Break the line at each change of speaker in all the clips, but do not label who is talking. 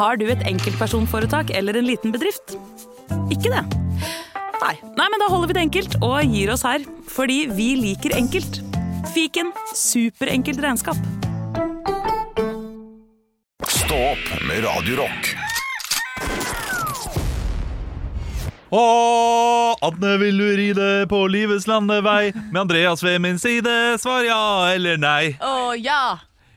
Har du et enkeltpersonforetak eller en liten bedrift? Ikke det? Nei. Nei, men da holder vi det enkelt og gir oss her. Fordi vi liker enkelt. Fiken superenkelt regnskap.
Stå opp med Radio Rock.
Å, Anne, vil du ride på livets landevei? Med Andreas ved min side, svar ja eller nei.
Å ja!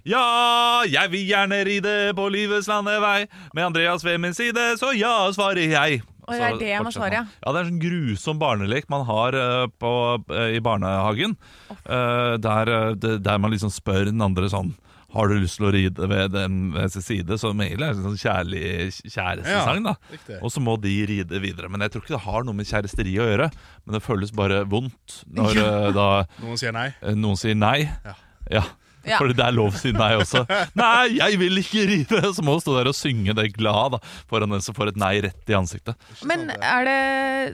Ja, jeg vil gjerne ride på livets landevei. Med Andreas ved min side, så ja, svarer jeg.
Og det er
Så
det jeg må
fortsetter
svare, ja.
man. Ja, det er en sånn grusom barnelek man har eh, på, eh, i barnehagen. eh, der, eh, det- der man liksom spør den andre sånn Har du lyst til å ride ved den ved sin side? Som egentlig er en sånn kjærlig kjærestesang, da.
riktig.
Og så må de ride videre. Men jeg tror ikke det har noe med kjæresteri å gjøre. Men det føles bare vondt når eh, da
Noen sier nei.
Eh, Noen sier nei.
Ja.
Ja.
Ja.
Fordi det er lov å si nei også. Nei, jeg vil ikke ride! Så må du stå der og synge det glad da, foran den som får et nei rett i ansiktet.
Men er det,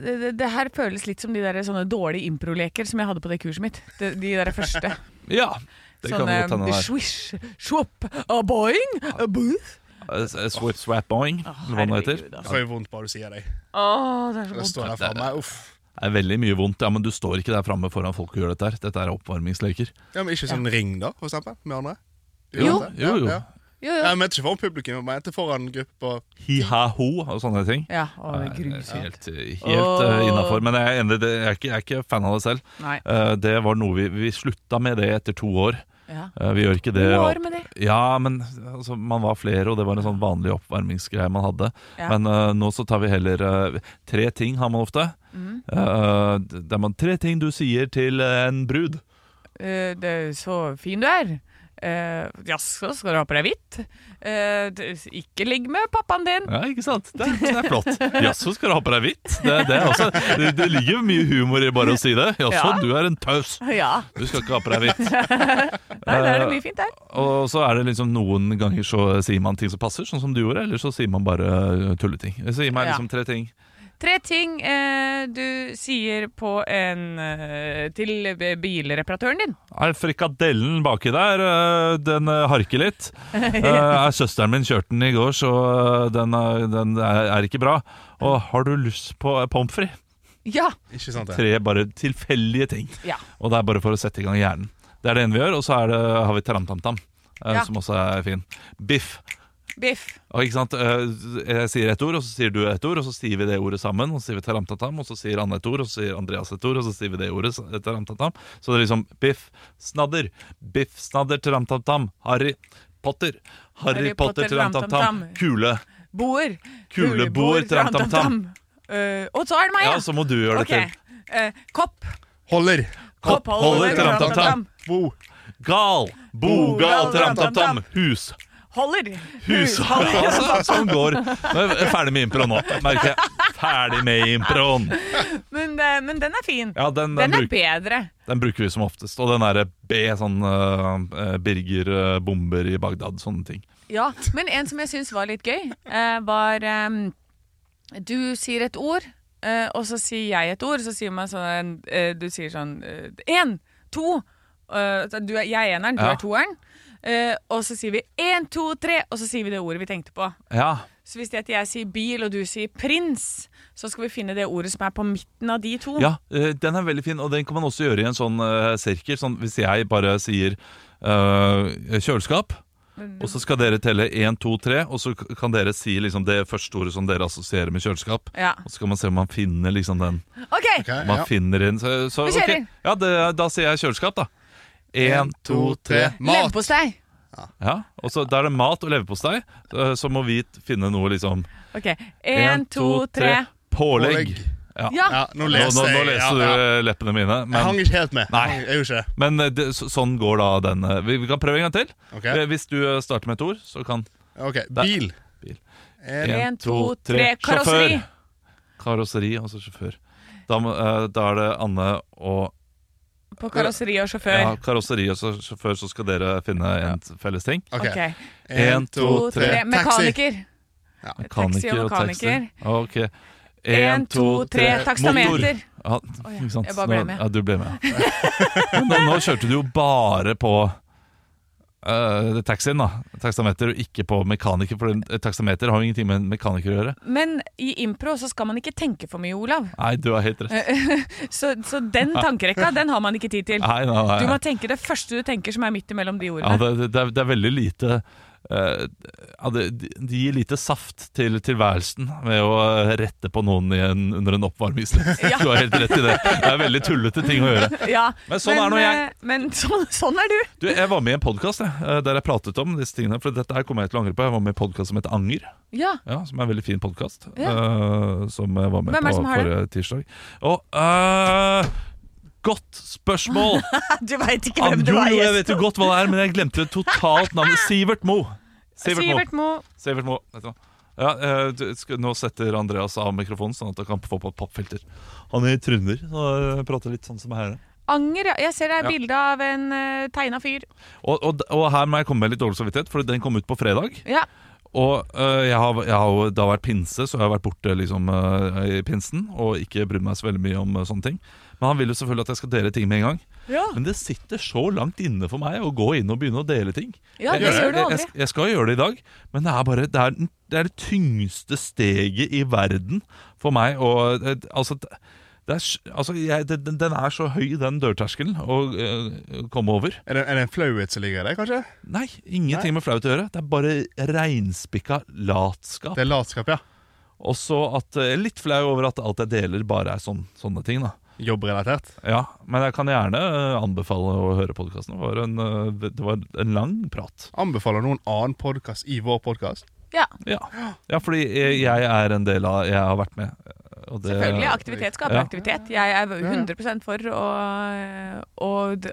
det- det Det her føles litt som de der sånne dårlige improleker som jeg hadde på det kurset mitt. De, de der første.
Ja, det kan godt hende
eh,
det er.
swish, swop, a boing, a booth.
Eh, Swap swap boing, eller hva det heter.
Herregud,
Jeg
altså.
får jo vondt bare du sier det.
Åh, det er så
Det
vondt.
står her faen meg. Uff.
Det er veldig mye vondt. Ja, Men du står ikke der framme foran folk og gjør dette her. Dette er oppvarmingsleker.
Ja, men ikke sånn ring, da, for eksempel? Med andre?
Jo.
Ja,
Jo, jo.
Ja.
Jo,
Ja,
jo.
Jeg mente ikke foran publikum, jeg mente foran gruppa.
Hi-ha-ho og sånne ting.
Ja, å, det er grusomt.
Helt, eh, helt
Åh.
innafor. Men jeg er enig, det- jeg er, ikke, jeg er ikke fan av det selv.
Nei.
Eh, Det var noe vi, vi slutta med det etter to år.
Ja.
Eh, Vi gjør ikke det.
To
og-
år med det.
Ja, men altså, man var flere, og det var en sånn vanlig oppvarmingsgreie man hadde.
Ja.
Men eh, nå så tar vi heller eh, Tre ting har man ofte.
Mm.
Eh, det er man, tre ting du sier til en brud.
Eh, det er så fin du er. Uh, Jaså, skal du ha på deg hvitt? Eh, d- ikke ligg med pappaen din.
Ja, ikke sant? Det, er- det er flott. Jaså, skal du ha på deg hvitt? Det, det, er også, det, det ligger jo mye humor i bare å si det. Jaså,
Ja.
du er en taus.
Ja,
Du skal ikke ha på deg hvitt.
nei, da er det
Eh,
mye fint der.
Og så er det liksom noen ganger så sier man ting som passer, sånn som du gjorde, eller så sier man bare eh, tulleting. Så gi meg
Ja.
liksom tre ting.
Tre ting eh, du sier på en eh, til b- bilreparatøren din.
Er frikadellen baki der, øh, den øh, harker litt. Eh, er søsteren min kjørte den i går, så øh, den, er- den er, er ikke bra. Og har du lyst på eh, pommes frites?
Ja.
Ikke sant? det?
Tre bare tilfeldige ting.
Ja.
Og det er bare for å sette i gang hjernen. Det er det ene vi gjør, og så er det, har vi taramtamtam, eh,
Ja.
som også er fin. Biff.
Biff.
Og ikke sant, eh, Jeg sier ett ord, og så sier du ett ord, og så sier vi det ordet sammen. Og så sier vi taramtatam, og så sier Anne et ord, og så sier Andreas et ord, og så sier vi det ordet sa- taramtatam. Så det er liksom biff, snadder, biff, snadder, taramtamtam, Harry Potter, Harry,
Harry
Potter,
Potter,
taramtamtam,
taramtamtam.
kule.
Boer.
Kuleboer, tram-tam-tam.
Eh, og så er det meg,
Ja, så må du gjøre det
Ok.
til.
Eh, kopp.
Holder!
Koppholder,
Koppholder,
taramtamtam.
Bo!
Gal, bogal,
Bogal,
taramtamtam,
taramtamtam.
hus.
Holder.
Hus, altså, sånn går. Nå er jeg Ferdig med improen nå, merker jeg. Ferdig med improen.
Men, eh, men den er fin.
Ja, den, den,
Den er
bruker
bedre.
Den bruker vi som oftest. Og den derre B, sånn eh, eh, Birger, eh, bomber i Bagdad, sånne ting.
Ja, men en som jeg syns var litt gøy, eh, var ehm, Du sier et ord, eh, og så sier jeg et ord. Så sier man sånn eh, Du sier sånn Én, to. eh, du er, jeg er eneren, du
Ja.
er toeren. Eh, og så sier vi én, to, tre, og så sier vi det ordet vi tenkte på.
Ja,
Så hvis det at jeg sier bil, og du sier prins, så skal vi finne det ordet som er på midten av de to.
ja eh, den er veldig fin, og den kan man også gjøre i en sånn eh, sirkel. Sånn, hvis jeg bare sier eh, kjøleskap,
Mm.
og så skal dere telle 1, 2, 3, og så k- kan dere si liksom, det første ordet som dere assosierer med kjøleskap.
Ja.
Og så skal man se om man finner liksom, den.
OK!
Ok,
Man
ja.
finner inn, så, så,
Vi kjører.
ok. Ja, det, da sier jeg kjøleskap, da. 1, 2, 3
Mat!
Leverpostei.
Ja, og så Da er det mat og leverpostei. eh, Så må vi t- finne noe liksom
OK. Én, to, tre.
Pålegg.
Pålegg.
Ja.
Ja.
Ja, nå
Nå,
leser
nå, nå
jeg.
leser du
ja, ja.
eh, leppene mine.
Jeg hang
Men,
ikke helt med.
Nei.
Jeg er jo ikke det.
men det, så, sånn går da den eh, Vi, vi kan prøve en gang til.
Ok.
Eh, Hvis du eh, starter med et ord, så kan
Ok, Bil.
bil.
En,
En,
En, to,
to, tre.
tre. Karosseri.
Sjåfør. Karosseri, altså sjåfør. Da, må- eh, da er det Anne og
På karosseri og sjåfør.
ja, Karosseri og så- sjåfør, så skal dere finne en felles ting.
ok.
Ok.
En, to, tre.
Taxi.
Mekaniker.
Mekaniker og
Taxi og
taxi. Ok.
En, to, tre.
Motor.
Taksameter.
Ja,
Å ja,
ikke sant.
jeg bare ble
Nå-
med.
Ja, du ble med. Men nå, nå kjørte du jo bare på eh, taxien, da. Taksameter, og ikke på mekaniker. For den- eh, taksameter har jo ingenting med en mekaniker å gjøre.
Men i impro så skal man ikke tenke for mye, Olav.
Nei, du har helt
Eh,
rett.
Så, så den tankerekka den har man ikke tid til.
Nei, nei, nei.
Du må tenke det første du tenker som er midt imellom de
Ja,
ordene.
det, det, det er, det er veldig lite eh, ja, det, De gir lite saft til tilværelsen ved å eh, rette på noen i en, under en oppvarmingslift.
Ja.
Du har helt rett i det. Det er veldig tullete ting å gjøre.
Ja,
Men sånn er nå jeg.
eh, Men sånn, sånn er du.
Du, Jeg var med i en podkast der jeg pratet om disse tingene. For dette her kommer jeg til å angre på. Jeg var med i en podkast som heter Anger.
Ja.
Ja, Som er en veldig fin podkast.
Ja.
som jeg var med
Hvem er det
på
som har det?
forrige tirsdag. Og eh, Godt spørsmål!
Du veit ikke
Jo,
hvem du
jo,
var
jeg
gjest
vet jo godt hva det er, men jeg glemte totalt navnet. Sivert Mo. Sivert Mo.
Sivert
Sivert
Mo.
Mo, vet du hva? Ja, eh, du, skal, nå setter Andreas av mikrofonen, sånn at han kan få på et pappfilter. Han er trønder og prater litt sånn som her.
Anger, ja. Jeg ser det er
Ja.
bilde av en uh, tegna fyr.
Og, og, og her må jeg komme med litt dårlig samvittighet, for den kom ut på fredag.
Ja.
Og eh, jeg har, jeg har, jo- det har vært pinse, så jeg har vært borte liksom, eh, i pinsen og ikke brydd meg så veldig mye om eh, sånne ting. Men han vil jo selvfølgelig at jeg skal dele ting med en gang.
Ja.
Men det sitter så langt inne for meg å gå inn og begynne å dele ting.
Ja, det
jeg,
gjør du
jeg-
aldri.
Jeg, jeg skal gjøre det i dag, men det er bare det, er, den- det, er det tyngste steget i verden for meg. Og, eh, altså, det det er, s- altså jeg, det, den- den er så høy, den dørterskelen, å eh, komme over.
Er det, er det en flauhet som ligger i det, kanskje?
Nei, ingenting med flaut å gjøre. Det er bare reinspikka latskap.
Det er latskap, ja.
Og så at eh, litt flau over at alt jeg deler, bare er sånn, sånne ting. da
Jobbrelatert.
Ja, Men jeg kan gjerne eh, anbefale å høre podkasten. Det, var en, eh, det var en lang prat.
Anbefaler noen annen podkast i vår podkast?
ja.
Ja, ja fordi jeg, jeg er en del av Jeg har vært med. Og det,
Selvfølgelig. Aktivitet skaper
Ja.
aktivitet. Jeg er 100 for å, eh, å d-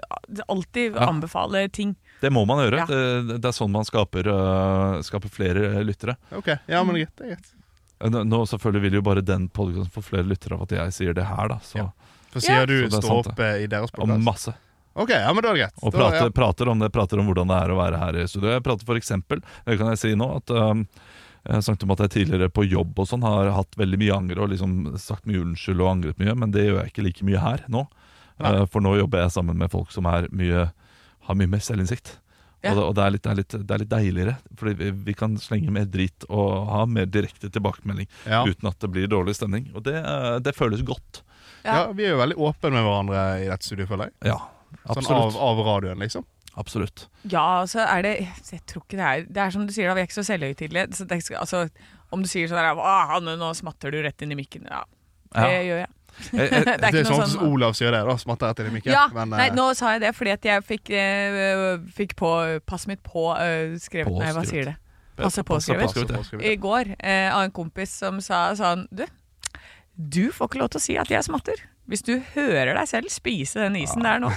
alltid
Ja.
anbefale ting.
det må man gjøre.
Ja.
Det, det er sånn man skaper, øh, skaper flere lyttere.
Ok, ja, men det er greit. det er greit.
Nå nå selvfølgelig vil jo bare den podkasten få flere lyttere av at jeg sier det her, da. Så,
Ja. For
Ja.
sier du
Så det er
stå
sant,
opp eh, i deres
Og
podkast?
masse.
Ok, ja, men da er det greit.
Og
Da-
prater, prater om det, prater om hvordan det er å være her i studio. Jeg prater for eksempel, det kan jeg si nå, at øhm, jeg snakket om at jeg tidligere på jobb og sånn har hatt veldig mye anger og liksom sagt mye unnskyld og angret mye, men det gjør jeg ikke like mye her nå.
Nei.
Eh, for nå jobber jeg sammen med folk som er mye, har mye mer selvinnsikt.
Ja.
Og, det, og det, er litt, det, er litt, det er litt deiligere, Fordi vi, vi kan slenge mer drit og ha mer direkte tilbakemelding
Ja. Ja.
uten at det blir dårlig stemning. Og det, eh, det føles godt.
ja, vi er jo veldig åpne med hverandre i dette studioet, føler jeg.
Ja,
Sånn av,
absolutt.
av radioen, liksom.
absolutt.
Ja, og så er det Jeg tror ikke det er Det er som du sier, da, vi er ikke så selvhøytidelige. Så det, skal- altså, om du sier sånn her «Å, Hanne, nå smatter du rett inn i mikken. Ja, det
Eh.
Ja.
gjør jeg.
Jeg, jeg,
Det er ikke noe
sånn som
sånn
Olav sier det, da. Smatter etter det, Mikkel.
ja,
men, eh,
nei, nå sa jeg det fordi at jeg fikk, eh, fikk på passet mitt på eh, skrevet Nei, hva
Påskrevet.
sier det? Passe
passe
påskrevet.
påskrevet, ja.
I går eh, av en kompis som sa sånn Du, du får ikke lov til å si at jeg smatter. Hvis du hører deg selv spise den isen der nå,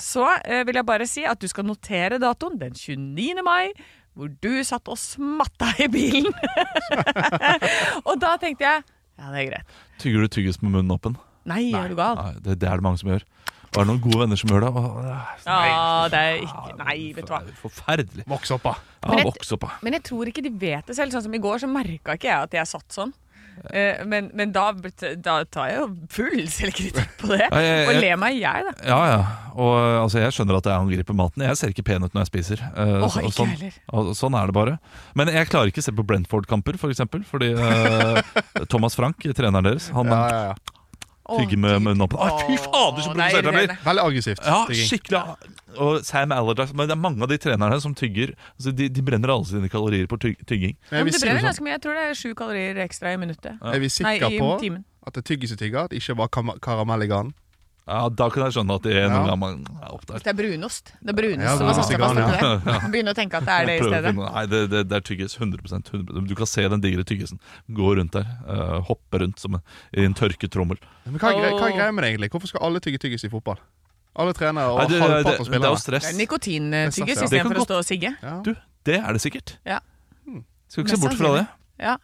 så eh, vil jeg bare si at du skal notere datoen den 29. mai. Hvor du satt og smatta i bilen. og da tenkte jeg ja, det er greit.
Tygger du tyggis med munnen åpen?
Nei, er du gal?
Nei, det, det er det mange som gjør. Og er det noen gode venner som gjør det? Åh, det er-
Ja, Ah, det er ikke Nei, vet du hva.
Det er Forferdelig.
Voks opp, da.
Ja,
Men jeg-
voks opp, da.
Men jeg tror ikke de vet det selv. Sånn som i går, så merka ikke jeg at jeg satt sånn. Eh, Men, men da, da tar jeg jo full selvkritikk på det.
Ja, jeg-
Og
jeg-
ler meg i hjel, da.
Ja, ja. Og eh, altså, jeg skjønner at jeg angriper maten. Jeg ser ikke pen ut når jeg spiser. Eh,
Åh,
så-
ikke
sånn,
heller.
og, sånn er det bare. Men jeg klarer ikke å se på Brentford-kamper, for eksempel. Fordi eh, Thomas Frank, treneren deres, han
Ja, ja, ja.
tygger med munnen åpen. Å, fy fader, så
Åh,
provosert
det er
jeg blir!
irriterende.
Veldig aggressivt.
Ja,
Digging.
skikkelig. Og Sam Allardyce. Men det er mange av de trenerne som tygger. Altså, de, de brenner alle sine kalorier på tyg- tygging.
Men
Ja,
er
men
vi
det
sikre,
brenner ganske mye. Jeg tror det er sju kalorier ekstra i minuttet.
er vi
Nei,
sånn, sikre
i
på
timen.
at det tygges i tygger, at det ikke var kam- karamell i ganen?
Ja, Da kan jeg skjønne at de
Ja.
noen ganger er opptatt.
Det er brunost. Det er brunost
Ja,
som har satt seg fast
brunost i
oppi der. Begynne å tenke at det er det i
Prøve å
stedet.
finne noe. Nei, det, det, det er tyggis. 100%, 100%. Du kan se den digre tyggisen gå rundt der. eh, hoppe rundt som en, i en tørketrommel.
Men hva, er gre
Åh.
hva er greia med det egentlig? Hvorfor skal alle tygge tyggis i fotball? Alle trenere og
Nei, det, det,
halvparten av
det, det er jo
spillerne.
stress.
Det er nikotintyggis
Det kan
istedenfor å
godt-
stå og sigge.
Ja.
Du, det er det sikkert.
Ja.
Skal ikke se
Mest
bort fra det.
Ja.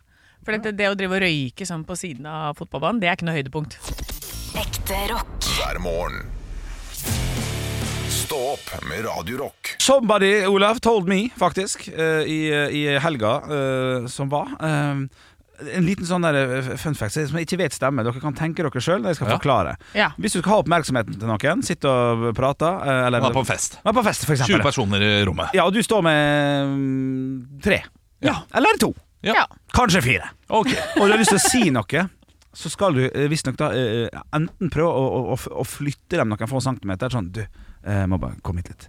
For det, det å drive og røyke sånn på siden av fotballbanen, det er ikke noe høydepunkt.
hver morgen. Stå opp med Radio Rock.
Somebody, Olav, told me, faktisk, eh, i, i helga eh, som var. Eh, en liten sånn der eh, fun fact som jeg ikke vet stemmer. Dere kan tenke dere sjøl. Jeg skal
Ja.
forklare.
Ja.
Hvis du skal ha oppmerksomheten til noen, sitte og prate eh, eller,
Han er på en fest.
Ja, på fest, for
20
eksempel.
personer i rommet.
Ja, og du står med mm, tre.
Ja.
Eller to.
Ja.
Kanskje fire. Og du har lyst til å si noe, så skal du eh, visstnok da eh, enten prøve å, å, å, f- å flytte dem noen få centimeter. Sånn, du, eh, må bare komme hit litt.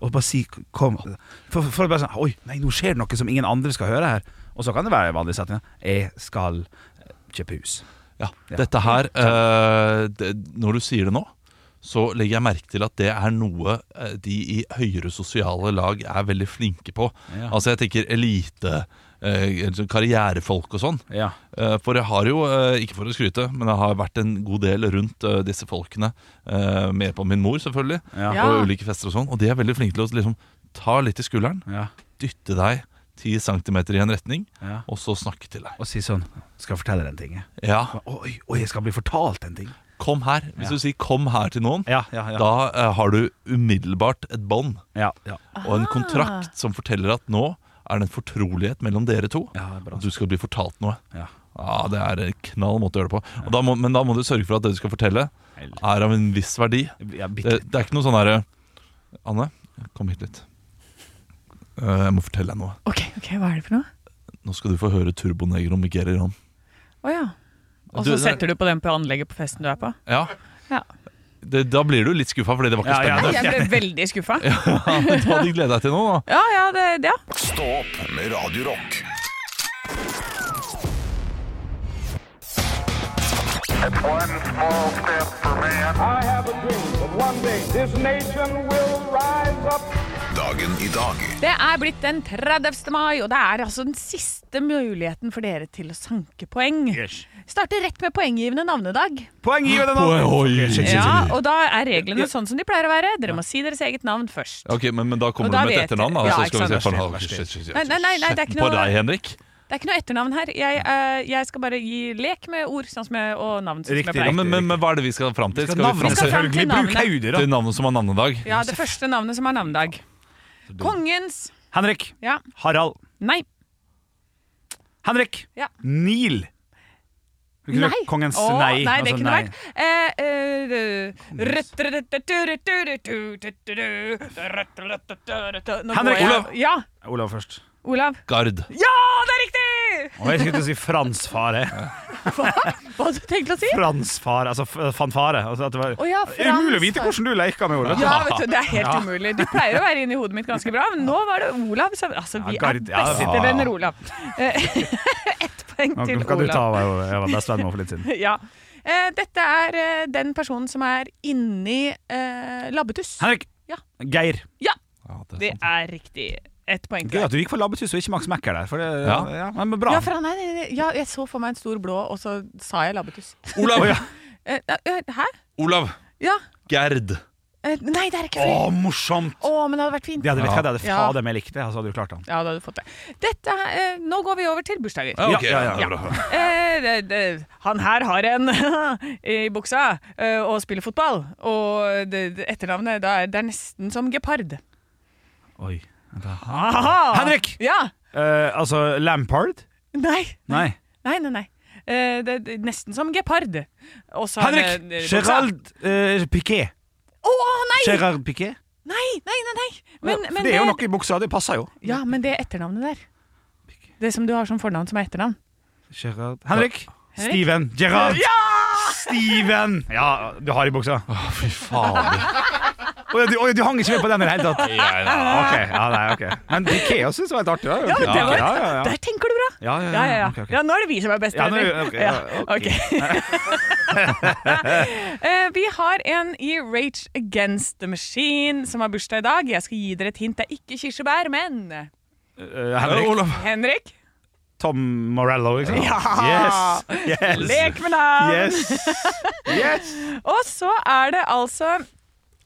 Og bare si kom. For, for, for bare sånn Oi, nei, nå skjer det noe som ingen andre skal høre her. Og så kan det være en vanlig setning. Jeg skal eh, kjøpe hus.
Ja,
Ja.
dette her eh, det, Når du sier det nå så legger jeg merke til at det er noe eh, de i høyere sosiale lag er veldig flinke på.
Ja.
Altså jeg tenker elite, eh, sånn karrierefolk og sånn.
Ja.
Eh, For jeg har jo, eh, ikke for å skryte, men jeg har vært en god del rundt eh, disse folkene. eh, Med på min mor selvfølgelig,
Ja.
Ja.
og ulike fester og sånn. Og de er veldig flinke til å liksom ta litt i skulderen,
ja,
dytte deg 10 cm i en retning,
ja.
og så snakke til deg.
Og si sånn Skal jeg fortelle deg en ting? jeg?»
Ja,
Oi, oi, jeg skal bli fortalt en ting.
kom her. Hvis du sier 'kom her' til noen,
Ja, ja, ja.
da eh, har du umiddelbart et bånd
Ja, ja.
og en kontrakt som forteller at nå er det en fortrolighet mellom dere to.
Ja, det er bra.
Og du skal bli fortalt noe.
Ja.
Ja, Det er en knall måte å gjøre det på. Og da må, men da må du sørge for at det du skal fortelle,
Ah.
er av en viss verdi.
ja bitte.
Det, det er ikke noe sånn herre Anne, kom hit litt. Eh, Jeg må fortelle deg noe.
Ok, ok, hva er det for noe?
Nå skal du få høre Turbonegro med Geri Ron.
Å ja. Og
Du,
så
det-
setter du på den på anlegget på festen du er på?
Ja.
Ja.
Det, da blir du litt skuffa, fordi det var ikke
Ja, ja.
spennende.
Nei, jeg ble veldig skuffa. Ja,
Du hadde gleda deg til noe. da.
ja, det, det- ja.
Stå opp med Radio Rock.
I have a dream that one day this nation will rise up.
Dagen i dag
Det er blitt den 30. mai, og det er altså den siste muligheten for dere til å sanke poeng.
Eh.
Starte rett med poenggivende navnedag.
Poenggivende
Oi,
navn!
oi.
Ja, og da er reglene sånn som de pleier å være. Dere må si deres eget navn først.
Ok, men, men da kommer
Og
du
da
med et
vet jeg-
etternavn. Da,
Ja,
så skal
ikke
vi se
sant.
for han- shit, shit, shit.
Nei, nei, nei, nei, det er ikke
På
noe-
deg, Henrik.
Det er ikke noe etternavn her. Jeg, eh, jeg skal bare gi lek med ord sånn som jeg, og navn. Sånn som jeg
Riktig,
Ja,
pleier.
men, men, men hva er det vi skal fram til? Skal vi
Navnet,
fram
skal
til,
fram til
selvfølgelig. Bruk
navnet.
hodet, da.
til navnet som har navnedag?
Ja, det første navnet som har navnedag. Kongens
Henrik.
Ja.
Harald.
Nei.
Henrik.
Ja.
Nil.
Nei.
Kongens
Å,
nei.
nei, det
altså
kunne vært eh, eh, røtterøtterøtterøtterøtterøtterøtterøtterøtterøtterøtterøtterøtterøtterøtterøtterøtterøtterøtterøtterøtterøtterøtterøtter- Nå
Henrik,
går jeg-
Olav.
Ja,
Olav først.
Olav.
Gard.
Ja, det er riktig!
Og jeg skulle til å si fransfare.
Hva hadde du tenkt å si?
Fransfare, altså f- fanfare. Altså at det var
Å ja,
Umulig å vite
fransfare.
hvordan du leker med Olav.
Ja, vet du, Det er helt umulig. Du pleier å være inni hodet mitt ganske bra, men nå var det Olav som Altså, vi
Ja,
er
Gard- ja,
beste
ja.
venner, Olav. Eh, Ett poeng
Nå
til
kan du ta
Olav.
meg over. Jeg var bestevenn med henne for litt siden.
Ja. Eh, Dette er eh, den personen som er inni eh, labbetuss.
Henrik.
Ja.
Geir.
Ja,
Ja, det
det
er sant.
er riktig. Ett poeng
Gøy
til.
at du gikk for labbetuss og ikke Max Mekker der. For det, ja.
Ja.
men men bra.
Ja, for han er, ja, jeg så for meg en stor blå, og så sa jeg labbetuss.
Olav.
Eh, eh, Hæ?
Olav.
Ja.
Gerd.
eh, Nei, det er ikke
Å,
flere.
morsomt!
Å, men det hadde vært fint.
Det hadde, vet du hva, det hadde
Ja.
fader meg likt, det. Altså, hadde du klart han.
Ja, da hadde du fått det. Dette, er- eh, nå går vi over til bursdager.
Ja, ok,
Ja, ja,
ja.
bra.
Eh, det, det, han her har en i buksa eh, og spiller fotball. Og det, det, etternavnet da er, det er nesten som gepard.
Oi.
Aha!
Henrik!
Ja!
Eh, altså Lampard?
Nei,
Nei.
nei, nei. nei. Eh, det, det, nesten som gepard. Og så er
Henrik!
det- buksa.
Gerald eh, Piquet.
Å, nei!
Gerard Piquet.
Nei, nei, nei! nei. Men,
Ja,
men
det er jo noe i buksa, det passer jo.
Ja, men det etternavnet der. Det som du har som fornavn som er etternavn.
Gerard Henrik!
Henrik?
Steven. Gerard! Steven! Ja, du har i buksa. Å,
Fy fader.
du, oi, du hang ikke med på den i det hele tatt?
Jeg-
Ja, ok, ja, nei, ok Men Piquet også synes det var litt artig. Da.
Ja, men det var-
ja, ja, ja.
Der tenker du bra!
Ja, ja,
Ja, ja, ja.
ok, ok.
ja, nå er det vi som er best
Ja, nå er
venner.
vi- ok, ja, ok.
Eh, vi har en i Rage Against the Machine som har bursdag i dag. Jeg skal gi dere et hint. Det er ikke kirsebær, men
Eh, Henrik.
Olav.
Henrik,
Tom Morello, liksom.
Ja.
Yes! yes.
lek med navn!
Yes! yes.
Og så er det altså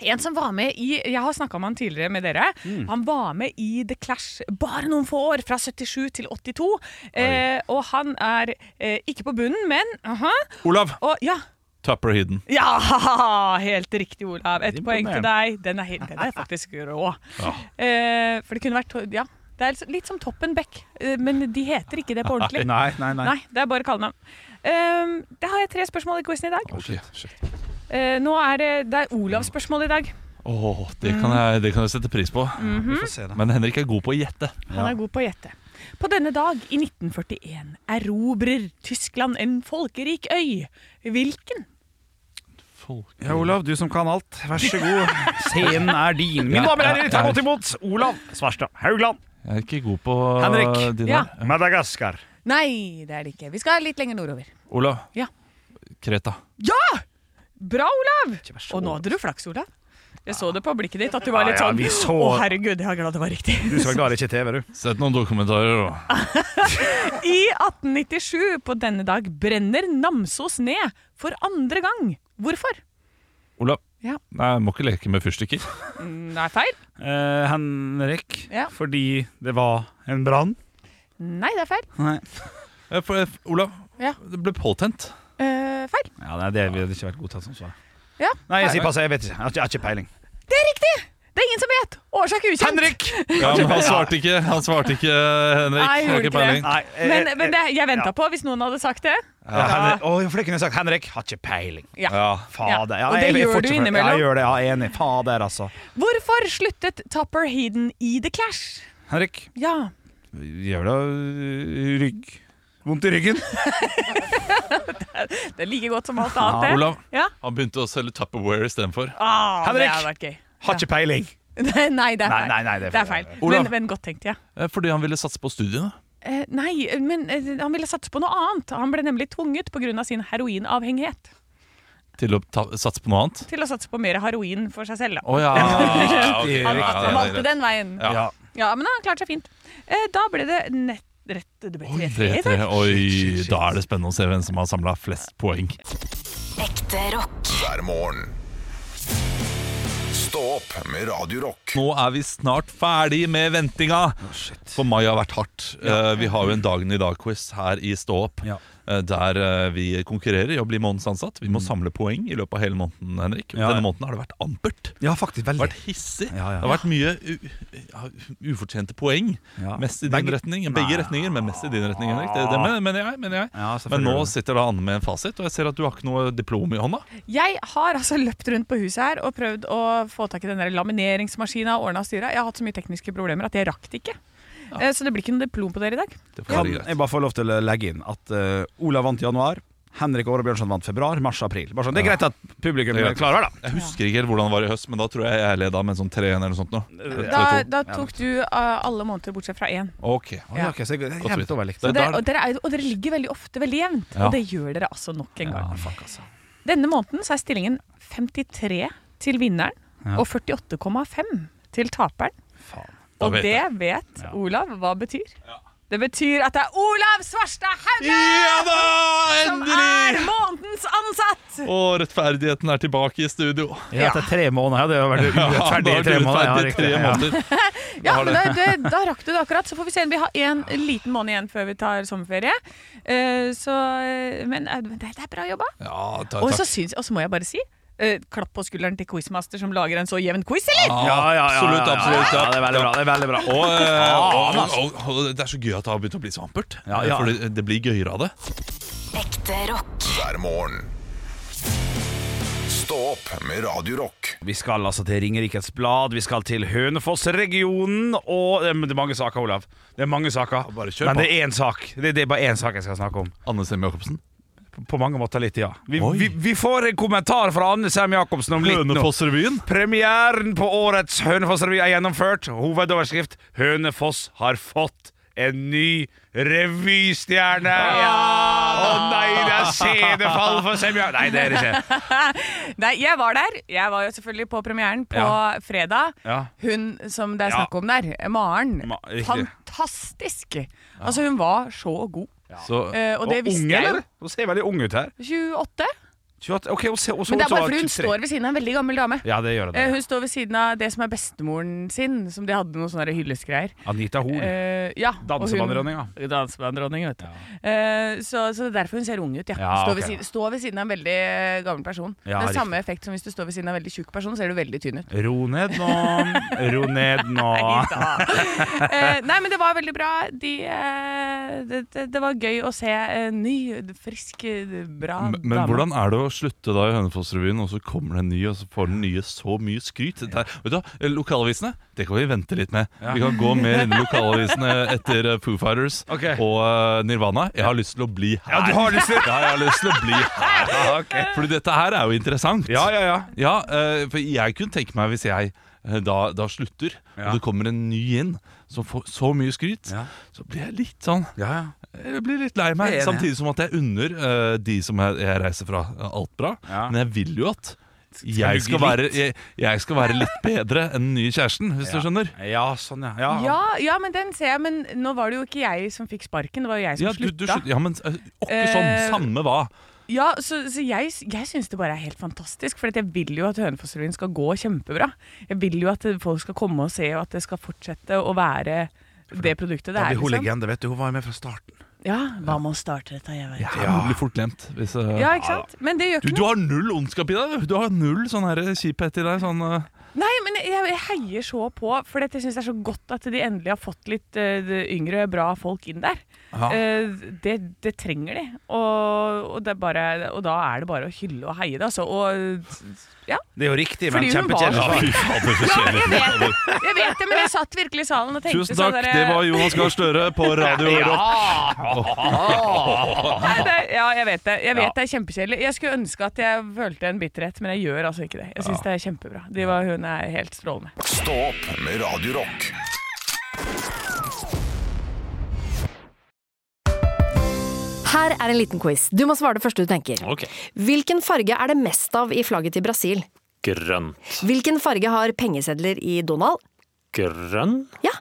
En som var med i Jeg har snakka med han tidligere med dere.
Mm.
Han var med i The Clash bare noen få år, fra 77 til 82. Eh, og han er eh, ikke på bunnen, men aha,
Olav!
og, ja,
Tupper Hidden.
ja! Helt riktig, Olav. Ett
Det er
poeng til
imponerende.
deg. Den er, helt, den er faktisk rå.
Ja.
Eh, for det kunne vært Ja. Det er litt som Toppen Beck, eh, men de heter ikke det på ordentlig.
Nei, nei, nei.
Nei, det er bare kallenavn. Um, da har jeg tre spørsmål i quizen i dag.
Åh,
Eh, nå er det, det er Olavs spørsmål i dag.
det, kan
Mm.
jeg, det kan jeg sette pris på.
Vi får se, da.
Men Henrik er god på å gjette.
Han er god på å gjette. På denne dag i 1941 erobrer Tyskland en folkerik øy. Hvilken?
Folk.
Ja, Olav, du som kan alt. Vær så god. Scenen er din. Mine damer og herrer, ta godt imot Olav Svarstad Haugland.
Jeg er ikke god på uh,
Henrik.
de der.
Ja.
Madagaskar.
Nei, det er det ikke. Vi skal litt lenger nordover.
Olav.
Ja.
Kreta.
Bra, Olav! Og nå hadde du flaks, Olav. Jeg så det på blikket ditt at du var litt
Ja, ja,
sånn
vi så-
Å, herregud, jeg er glad det var riktig.
Du som er glad i ikke TV, du.
Sett noen dokumentarer,
Ah.
da.
I 1897 på denne dag brenner Namsos ned for andre gang. Hvorfor?
Olav.
Ja.
Nei, jeg må ikke leke med fyrstikker.
Nei, feil.
Eh, Henrik,
Ja.
fordi det var en brann.
Nei, det er feil.
Nei.
Eh, for- eh, Olav,
Ja.
det ble påtent.
Eh, feil.
Ja, nei, Det ville ikke vært godtatt som svar.
Ja.
Nei, jeg sier pass, jeg vet ikke. Jeg har ikke, jeg har ikke peiling.
Det er riktig! Det er ingen som vet! Årsak ukjent.
Henrik!
Ja, men han svarte ikke, han svarte ikke Henrik.
Nei,
Har
gjorde
ikke
ikke det.
peiling.
Nei, eh,
Men, men det, jeg
ja.
venta på hvis noen hadde sagt det.
ja, Henrik. Å, for det kunne jeg sagt. Henrik, har ikke peiling.
Ja.
Fader.
Ja, og det gjør
får
du
ikke-
innimellom.
Ja, jeg gjør det. Ja, enig. Fader, altså.
Hvorfor sluttet Topper Headen i The Clash?
Henrik,
Ja,
gjør det av øh, rygg. Vondt i ryggen.
det er like godt som alt
Ja,
annet, det.
Ah, Olav,
Ja.
han begynte å selge Tupperware istedenfor.
Ah,
Henrik!
Det hadde vært gøy.
Har ikke peiling.
Nei, nei, det er
Nei,
feil.
nei, nei, det er
det er
feil.
feil.
Olav.
Men, men godt tenkt, ja.
Eh, Fordi han ville satse på studiene.
Eh, nei, men eh, han ville satse på noe annet. Han ble nemlig tvunget pga. sin heroinavhengighet
Til å ta, satse på noe annet.
til å satse på mer heroin for seg selv. Da.
Å ja.
Riktig,
ok.
Han, han
Ja, det
valgte
er rett.
den veien.
Ja.
Ja.
Ja, men han klarte seg fint. Eh, da ble det nett rett Det ble
Oi,
3-3 i dag.
tre-tre. Oi, da er det spennende å se hvem som har samla flest poeng.
hver morgen. Stå opp med Radio Rock.
Nå er vi snart ferdig med ventinga. For mai har vært hardt. Eh, Vi har jo en Dagen i dag-quiz her i Stå opp,
Ja.
eh, der eh, vi konkurrerer i å bli månedens ansatt. Vi må samle poeng i løpet av hele måneden, Henrik.
Mm. Ja,
Denne
ja.
måneden har det vært ampert.
Ja, faktisk.
Det har
Veldig.
vært hissig.
Ja, ja.
Det har vært mye u ja, ufortjente poeng.
Ja.
Mest i din
Begge-
retning. Begge
Nei.
retninger, men mest i din retning, Henrik. Det, det men- mener jeg. Mener jeg.
Ja, selvfølgelig
men nå
gjør det.
sitter da Anne med en fasit, og jeg ser at du har ikke noe diplom i hånda.
Jeg har altså løpt rundt på huset her og prøvd å få tak i den der lamineringsmaskina og ordna og styra. Jeg har hatt så mye tekniske problemer at jeg rakk det ikke. Eh, Så det blir ikke noe diplom på dere i dag.
Det får
Kan
være
jeg
greit.
bare få lov til å legge inn at eh, Olav vant i januar, Henrik Åre Bjørnson vant februar, mars og april. Bare sånn, Det er greit at publikum
Det er
er
greit.
klar over, da.
Jeg husker ikke helt hvordan det var i høst, men da tror jeg jeg leda med en sånn 3-1 eller noe sånt. Nå.
Da,
3-2.
da tok du eh, alle måneder bortsett fra én.
Ok.
Å, ja, ok, så jeg,
Godt å
jeg
vite.
jevnt over likt.
Det-
Og dere,
da er
og, dere er, og dere ligger veldig ofte veldig jevnt.
Ja.
Og det gjør dere altså nok en gang.
Fuck, altså.
Denne måneden så er stillingen 53 til vinneren og 48,5 til taperen.
Faen.
Og
vet
det
jeg.
vet Olav hva betyr. Det betyr at det er Olav Svarstad Hauge!
Ja da!
som er
Endelig!
månedens ansatt!
Og rettferdigheten er tilbake i studio.
Ja, etter tre måneder. Ja, det har vært urettferdig i
da
tre
er du
måneder. Ja,
rettferdig i
riktig,
tre
ja.
måneder.
Ja,
har
men det, det, Da rakk du det akkurat. Så får vi se. Vi har en liten måned igjen før vi tar sommerferie. Eh, så, eh, men eh, det, det er bra jobba.
Ja, takk,
Og
takk.
så syns- og så må jeg bare si eh, Klapp på skulderen til quizmaster som lager en så jevn quiz, eller?
Ja,
Ja, ja, ja,
absolutt,
ja, ja,
absolutt.
Ja,
Ja.
det er veldig bra. det er veldig bra øh,
Og, eh, og,
Faen, altså.
og, og det er så gøy at det har begynt å bli så ampert.
Ja, ja.
For det, det blir gøyere av det.
hver morgen. Stå opp med Radio Rock
Vi skal altså til Ringerikes Blad, vi skal til Hønefoss-regionen og eh, men Det er mange saker, Olav. Det er mange saker.
Bare kjør
Men
på.
det er én sak. Det, det er bare én sak jeg skal snakke om.
Anne Sem Jacobsen.
På mange måter litt, ja. Vi,
Oi.
vi, vi får en kommentar fra Anne Sem Jacobsen om litt nå.
Hønefossrevyen.
Premieren på årets Hønefoss-revy er gjennomført. Hovedoverskrift 'Hønefoss har fått en ny revystjerne'. Å nei, det er scenefall for Semja... Nei, det er det ikke.
Nei, jeg var der. Jeg var jo selvfølgelig på premieren på
Ja.
fredag.
Ja.
Hun som det er
Ja.
snakk om der, Maren.
Ma- riktig.
fantastisk! Altså, hun var så god.
Så
Eh, og det
ung,
visste jeg jo.
eller? Hun ser veldig ung ut her.
28?
28, ok, og så, og så,
Men det er
så-
bare fordi hun står ved siden av en veldig gammel dame.
Ja, det gjør det.
Eh, Hun står ved siden av det som er bestemoren sin, som de hadde noen sånne hyllesgreier.
Anita Horn.
Eh, ja, og hun-
Dansebanddronninga.
Dansebanddronning, vet du. Eh, så, så det er derfor hun ser ung ut, ja.
Ja,
stå,
ok.
ved siden, stå ved siden av en veldig eh, gammel person.
Ja,
det er
riktig.
samme effekt som hvis du står ved siden av en veldig tjukk person, ser du veldig tynn ut.
Ro ned nå. Ro ned nå.
Eh, nei, men det var veldig bra. De, eh, det, det, det var gøy å se en ny, frisk, eh, bra
Men, men
dame.
hvordan er det å slutte da i Hønefoss-revyen, og så kommer det en ny, og så får den nye så mye skryt? Det er- vet du, hva, Eh, Lokalavisene, det kan vi vente litt med. Vi kan gå mer inn i lokalavisene etter eh, Foo Fighters
Ok.
og eh, Nirvana. Jeg har lyst til å bli her.
Ja, du har lyst til-
Ja, jeg har lyst til å bli her. Fordi dette her er jo interessant.
Ja, ja, ja.
Ja, eh, for jeg kunne tenke meg hvis jeg eh, da, da slutter,
Ja.
og det kommer en ny inn som får så mye skryt,
Ja.
så blir jeg litt sånn
ja, ja.
jeg blir litt lei meg,
Jeg er enig.
samtidig som at jeg unner eh, de som jeg, jeg reiser fra, eh, alt bra.
Ja.
Men jeg vil jo at
du
jeg skal,
gi
være, jeg, jeg skal være litt bedre enn den nye kjæresten, hvis du skjønner.
Ja, sånn, ja. ja.
Ja, ja, men den ser jeg. Men nå var det jo ikke jeg som fikk sparken, det var jo jeg som
Ja, du, du,
slutta.
skjønner- ja, men eh, åkke
Eh,
sånn, samme hva.
Ja, så, så jeg, jeg syns det bare er helt fantastisk. For at jeg vil jo at Hønefoss-revyen skal gå kjempebra. Jeg vil jo at folk skal komme og se, og at det skal fortsette å være det produktet det
Da
er.
blir hun
Liksom.
legende, vet du. Hun var jo med fra starten.
Ja, Hva med å starte dette, jeg vet.
Ja, Du blir fort glemt. Hvis, eh,
Ja, ikke sant? Men det gjør
du,
ikke
du
noe.
har null ondskap i deg. Du Du har null sånn her kjiphet i deg. Sånn, eh,
Nei, men jeg, jeg heier så på, for jeg syns det er så godt at de endelig har fått litt eh, det yngre, bra folk inn der. Eh, det, det trenger de, og, og, det er bare, og da er det bare å hylle og heie det. Altså. Og, ja.
Det er jo riktig, men
Fordi hun var
kjempekjedelig.
fy fader, så
ja,
kjedelig.
jeg vet det, jeg vet det, men jeg satt virkelig i salen og tenkte
Tusen
sånn
takk,
der-
det var Jonas Gahr Støre på Radio Rock.
Nei, det, ja, jeg vet det. Jeg vet det er kjempekjedelig. Jeg skulle ønske at jeg følte en bitterhet, men jeg gjør altså ikke det. Jeg syns det er kjempebra. De var, hun er helt strålende.
Stå opp med Radio Rock.
Her er en liten quiz. Du må svare det første du tenker.
Ok.
Hvilken farge er det mest av i flagget til Brasil?
Grønn.
Hvilken farge har pengesedler i Donald?
Grønn.
Ja.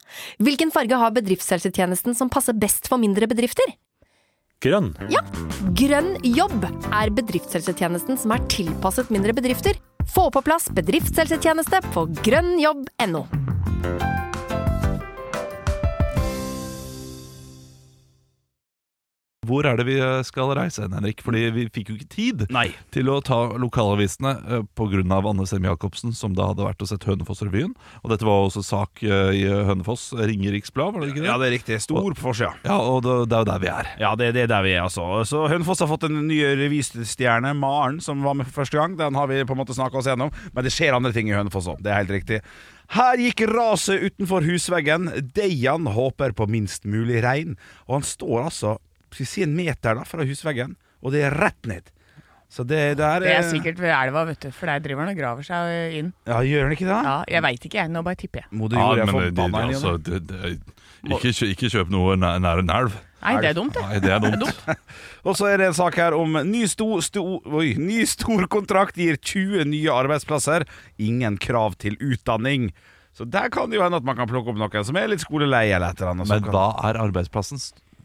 Hvilken farge har bedriftshelsetjenesten som passer best for mindre bedrifter?
Grønn.
Ja! Grønn jobb er bedriftshelsetjenesten som er tilpasset mindre bedrifter. Få på plass bedriftshelsetjeneste på grønnjobb.no.
Hvor er det vi eh, skal reise hen, Henrik? Fordi vi fikk jo ikke tid.
Nei.
til å ta lokalavisene eh, pga. Anne Sem Jacobsen, som da hadde vært og sett Hønefoss-revyen. Og dette var også sak eh, i Hønefoss, Ringeriks Blad, var det ikke det?
Ja, det er riktig. Stor på forsida.
Ja, og det, det er jo der vi er.
Ja, det, det er der vi er, altså. Så Hønefoss har fått en ny revystjerne, Maren, som var med for første gang. Den har vi på en måte snakka oss gjennom. Men det skjer andre ting i Hønefoss òg, det er helt riktig. Her gikk raset utenfor husveggen. Dejan håper på minst mulig regn. Og han står altså skal vi si en meter da fra husveggen, og det er rett ned. Så det der
Det er sikkert ved elva, vet du, for der driver han og graver seg inn.
Ja, gjør han ikke det?
Ja, jeg veit ikke, jeg. Nå bare tipper jeg.
Moder jord er
det- det-
forbanna inn i
altså,
det.
det- det- ikke, kjø- ikke kjøp noe nær, nær en elv.
Nei, det er dumt, det.
Nei, det er dumt.
Og så er det en sak her om ny, sto, sto, oi, ny stor kontrakt gir 20 nye arbeidsplasser. Ingen krav til utdanning. Så der kan det jo hende at man kan plukke opp noen som er litt skolelei eller et eller annet. som
Men
kan-
hva er arbeidsplassen?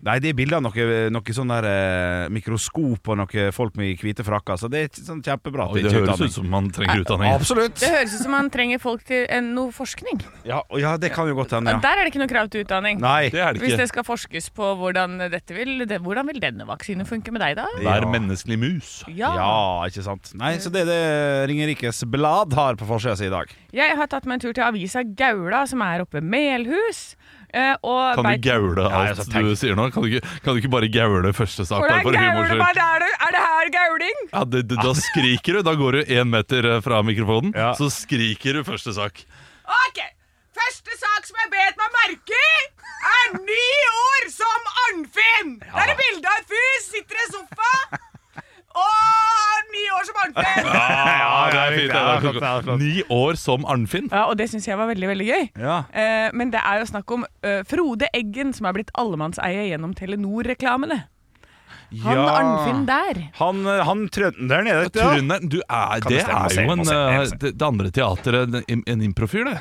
Nei, det er bilder av noe, noe sånn der eh, mikroskop og noen folk med hvite frakker, så det er ikke sånn kjempebra. at
Oi, det
ikke er
høres
utdanning.
ut som man trenger utdanning.
Absolutt!
Det høres ut som han trenger folk til en, noe forskning.
Ja, og ja, det kan jo godt hende,
Og
ja.
Der er det ikke noe krav til utdanning.
Nei.
Det er det
Hvis det
ikke.
skal forskes på hvordan dette vil det, Hvordan vil denne vaksinen funke med deg, da?
Vær
Ja.
menneskelig mus.
Ja.
Ja, ikke sant. Nei, så det er det Ringerikes Blad har på forsida si i dag.
Jeg har tatt meg en tur til avisa Gaula, som er oppe ved Melhus. eh, Og
Kan du
vet-
gaule
Nei,
alt
altså,
du sier nå? Kan du ikke, kan du ikke bare gaule første sak? Bare
Hvordan
for humors
gauler
skyld?
man? Er det, er det her gauling?
Ja, det, det, da skriker du. Da går du én meter eh, fra mikrofonen,
Ja.
så skriker du første sak.
Ok, første sak som jeg bet meg merke i, er ni år som Arnfinn. Det er et bilde av en fyr, sitter i en sofa, og er ni år som Arnfinn.
Ja, Ah, det er
riktig.
fint.
Ja, det er
det
flott, det
er
er
flott.
flott.
Ni år som Arnfinn.
Ja, og det syns jeg var veldig, veldig gøy.
Ja.
Eh, men det er jo snakk om eh, Frode Eggen, som er blitt allemannseie gjennom Telenor-reklamene. Han
Ja.
Arnfinn der.
Han, eh, han trønderen er det, ikke det?
Trønderen, du er,
du
det
stemme?
er
Se,
jo
må
en,
se, må
eh,
se.
det, det andre teateret, en, en improfyr, det.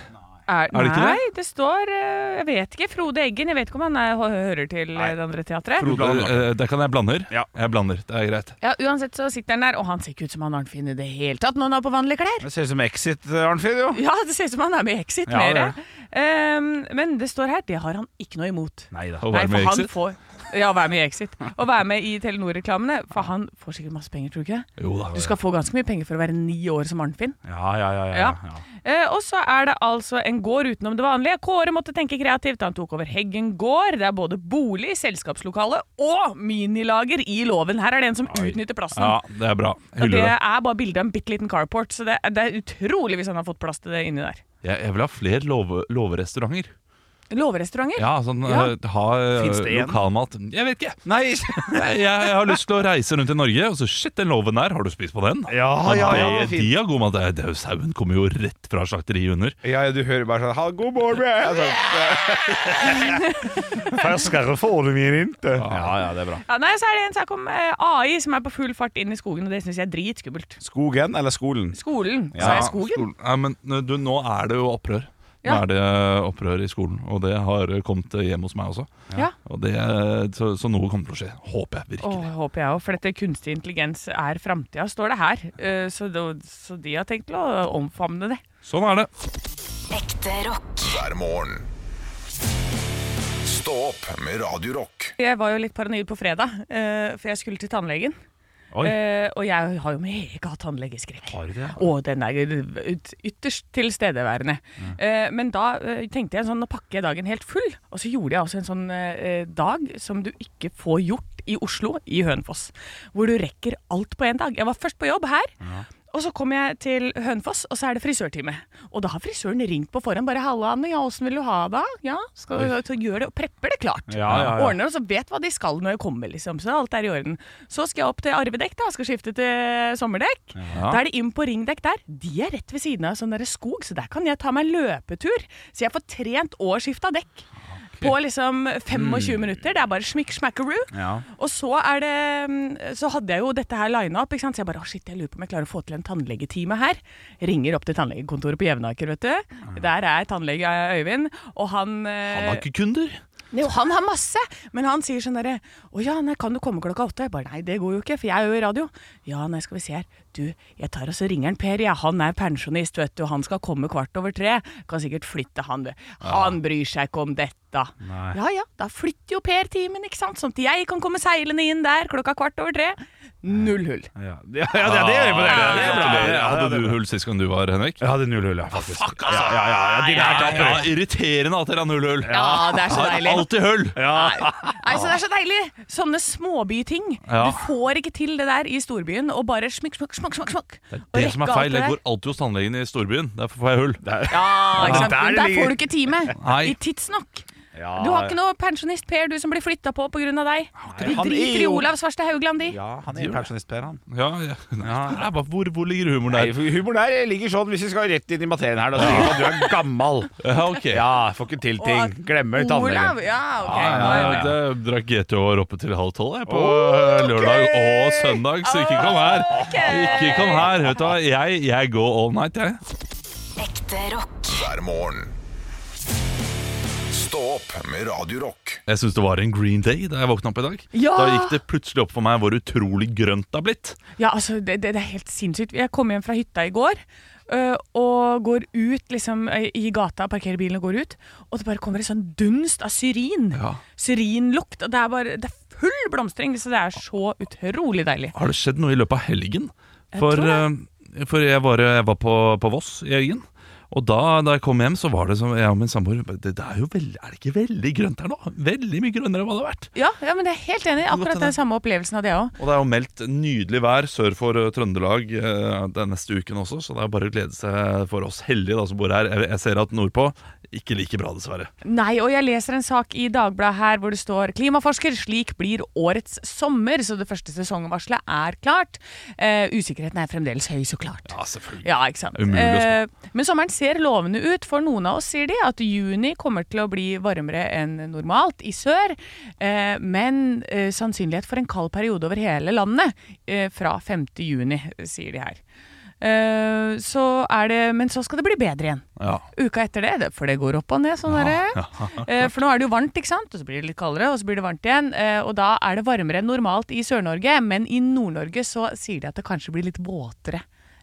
Er,
Er det ikke
nei, det? står eh, Jeg vet ikke. Frode Eggen. Jeg vet ikke om han er, hører til eh, det andre teatret.
Frode, eh, der kan jeg blander.
Ja.
Jeg blander, det er greit.
Ja, Uansett så sitter han der, og han ser ikke ut som han har en fin i det hele tatt når han er på vanlige klær.
Det ser ut som Exit, eh, Arnfrid, jo.
Ja, det ser ut som han er med i Exit
Ja, det
mer.
er
Ehm, men det står her, det har han ikke noe imot.
Nei da.
Å
Nei,
være med i
for han
Exit.
får Ja, være med i Exit. Og være med i Telenor-reklamene. For han får sikkert masse penger, tror du ikke det?
Jo da.
Du skal få ganske mye penger for å være ni år som Arnfinn.
Ja, ja, ja. ja,
Ja.
ja.
Eh, og så er det altså en gård utenom det vanlige. Kåre måtte tenke kreativt. Han tok over Heggen gård. Det er både bolig, selskapslokale og minilager i låven. Her er det en som utnytter plassen.
Ja, det er bra.
og det
Hyller det.
er bare bilde av en bitte liten carport, så det, det er utrolig hvis han har fått plass til det inni der.
Jeg, jeg vil ha flere låve- låverestauranter.
Låverestauranter?
Ja, sånn
Ja.
eh, ha eh,
Finnes det en?
lokalmat. Jeg vet ikke.
Nei!
Jeg, jeg har lyst til å reise rundt i Norge, og så shit, den låven der, har du spist på den?
Ja, ja, ja.
de, de
Fint.
har god mat. Det er jo Sauen kommer jo rett fra slakteriet under.
Ja, ja, du hører bare sånn ha, 'God morgen!' jeg», sånn. Ferskere får du min inte. Ja, ja, det er bra.
Ja, nei, så er det en sak om eh, AI som er på full fart inn i skogen, og det syns jeg er dritskummelt.
Skogen eller skolen?
Skolen,
Ja,
sa jeg skogen?
Skolen. Nei, men du, nå er det jo opprør. Nå
Ja.
er det opprør i skolen, og det har kommet hjem hos meg også.
Ja.
Og det, så, så noe kommer til å skje. Håper jeg
Åh,
virkelig.
håper jeg òg, for dette kunstig intelligens er framtida, står det her. Eh, så, det, så de har tenkt til å omfavne det.
Sånn er det.
Ekte rock.
hver morgen. Stå opp med Radio Rock.
Jeg var jo litt paranoid på fredag, eh, for jeg skulle til tannlegen.
Oi.
Eh, og jeg har jo mega tannlegeskrekk.
Har du det?
Og den er ut- ytterst tilstedeværende. Eh, men da eh, tenkte jeg sånn, nå pakker jeg dagen helt full. Og så gjorde jeg også en sånn eh, dag som du ikke får gjort i Oslo, i Hønefoss. Hvor du rekker alt på én dag. Jeg var først på jobb her. Og så kom jeg til Hønefoss, og så er det frisørtime. Og da har frisøren ringt på forhånd. Bare 'Halla, Anne. Ja, åssen vil du ha det?' Ja, skal du så gjør det, og prepper det klart.
Ja, ja, ja.
Ordner og så vet hva de skal når jeg kommer, liksom. Så alt er i orden. Så skal jeg opp til arvedekk, da. Skal skifte til sommerdekk. Da er det inn på ringdekk der. De er rett ved siden av sånn derre skog, så der kan jeg ta meg en løpetur. Så jeg får trent og skifta dekk. På liksom 25
Mm.
minutter. Det er bare smikk smackaroo.
Ja.
Og så er det mm, Så hadde jeg jo dette her lina opp, ikke sant? så jeg bare å shit, jeg lurer på om jeg klarer å få til en tannlegetime her. Ringer opp til tannlegekontoret på Jevnaker, vet du. Der er tannlege Øyvind, og han eh,
Han har ikke kunder.
jo, han har masse, men han sier sånn derre Å ja, nei, kan du komme klokka åtte? Jeg bare nei, det går jo ikke, for jeg er jo i radio. Ja, nei, skal vi se her. Du, jeg tar og så ringer han Per, ja. Han er pensjonist, vet du. Han skal komme kvart over tre. Kan sikkert flytte han, du. Han bryr seg ikke om dette. Ja ja, da flytter jo Per timen, ikke sant. Sånn at jeg kan komme seilende inn der klokka kvart over tre. Null hull.
Ja, ja, ja, det- det er imponerende. Det er bra.
Gratulerer.
Ja, det er
Hadde
bra.
du hull sist gang du var, Henrik?
Jeg hadde null hull, ja, faktisk.
Fuck, altså!
Ja, ja, ja, de lærte
ja, ja, irriterende at dere har null hull.
Ja, det er så deilig.
Alltid hull!
Nei, så Det er så deilig! Sånne småbyting.
Ja.
Du får ikke til det der i storbyen, og bare smykk, smykk, smykk. smykk, smykk. Og
Det som er
rekke alt
feil,
det
jeg
der.
går alltid hos tannlegen i storbyen. Derfor får jeg hull.
Ja, ikke sant?
Der
Men der
ligger-
får du ikke time.
Nei.
I tidsnok.
Ja,
Du har ikke noe pensjonist Per, du som blir flytta på pga. deg. De
han er
driter i
jo-
Olav Svarstad Haugland, de.
Ja, han er jo pensjonist, Per, han.
Ja, ja. Nei, det er bare, hvor, hvor ligger humoren
Nei,
der?
for humoren her ligger sånn, hvis vi skal rett inn i materien her, da sier vi at du er gammel.
Ja, ok.
Ja, får ikke til ting. Glemmer
Olav,
tannlegen.
ja, ok.
Jeg drakk GTH-er oppe til halv tolv jeg, på eh, lørdag og søndag, så ikke kom her. Ikke kom her. Vet du hva, jeg, jeg går all night, jeg.
Ekte rock.
hver morgen. Stå opp med Radio Rock.
Jeg syns det var en green day da jeg våkna opp i dag.
Ja!
Da gikk det plutselig opp for meg hvor utrolig grønt det har blitt.
Ja, altså, det, det, det er helt sinnssykt. Jeg kom hjem fra hytta i går. øh, og går ut liksom øh, i gata, parkerer bilen og går ut. Og det bare kommer en sånn dunst av syrin.
Ja.
Syrinlukt. Og det er bare Det er full blomstring, så det er så utrolig deilig.
Har det skjedd noe i løpet av helgen? For,
tror
eh, for jeg var, jeg var på, på Voss i helgen. Og da, da jeg kom hjem, så var det som jeg og min samboer det, det er jo veldig, Er det ikke veldig grønt her nå? Veldig mye grønnere enn hva det har vært.
Ja, ja men jeg er helt enig.
Godt,
Akkurat
Anne.
den samme opplevelsen hadde jeg òg.
Og det er jo meldt nydelig vær sør for eh, Trøndelag eh, den neste uken også, så det er bare å glede seg for oss heldige da, som bor her. Jeg, jeg ser at nordpå ikke like bra, dessverre.
Nei, og jeg leser en sak i Dagbladet her hvor det står 'Klimaforsker, slik blir årets sommer', så det første sesongvarselet er klart. Eh, usikkerheten er fremdeles høy, så klart. Ja,
selvfølgelig.
ikke sant.
Umulig å spå.
Eh, men sommeren ser lovende ut. For noen av oss sier de at juni kommer til å bli varmere enn normalt i sør, eh, men eh, sannsynlighet for en kald periode over hele landet eh, fra 5. juni, sier de her. Eh, så er det, men så skal det bli bedre igjen.
Ja.
Uka etter det, det- for det går opp og ned. sånn der. Eh, For nå er det jo varmt, ikke sant? og så blir det litt kaldere, og så blir det varmt igjen. eh, Og da er det varmere enn normalt i Sør-Norge, men i Nord-Norge så sier de at det kanskje blir litt våtere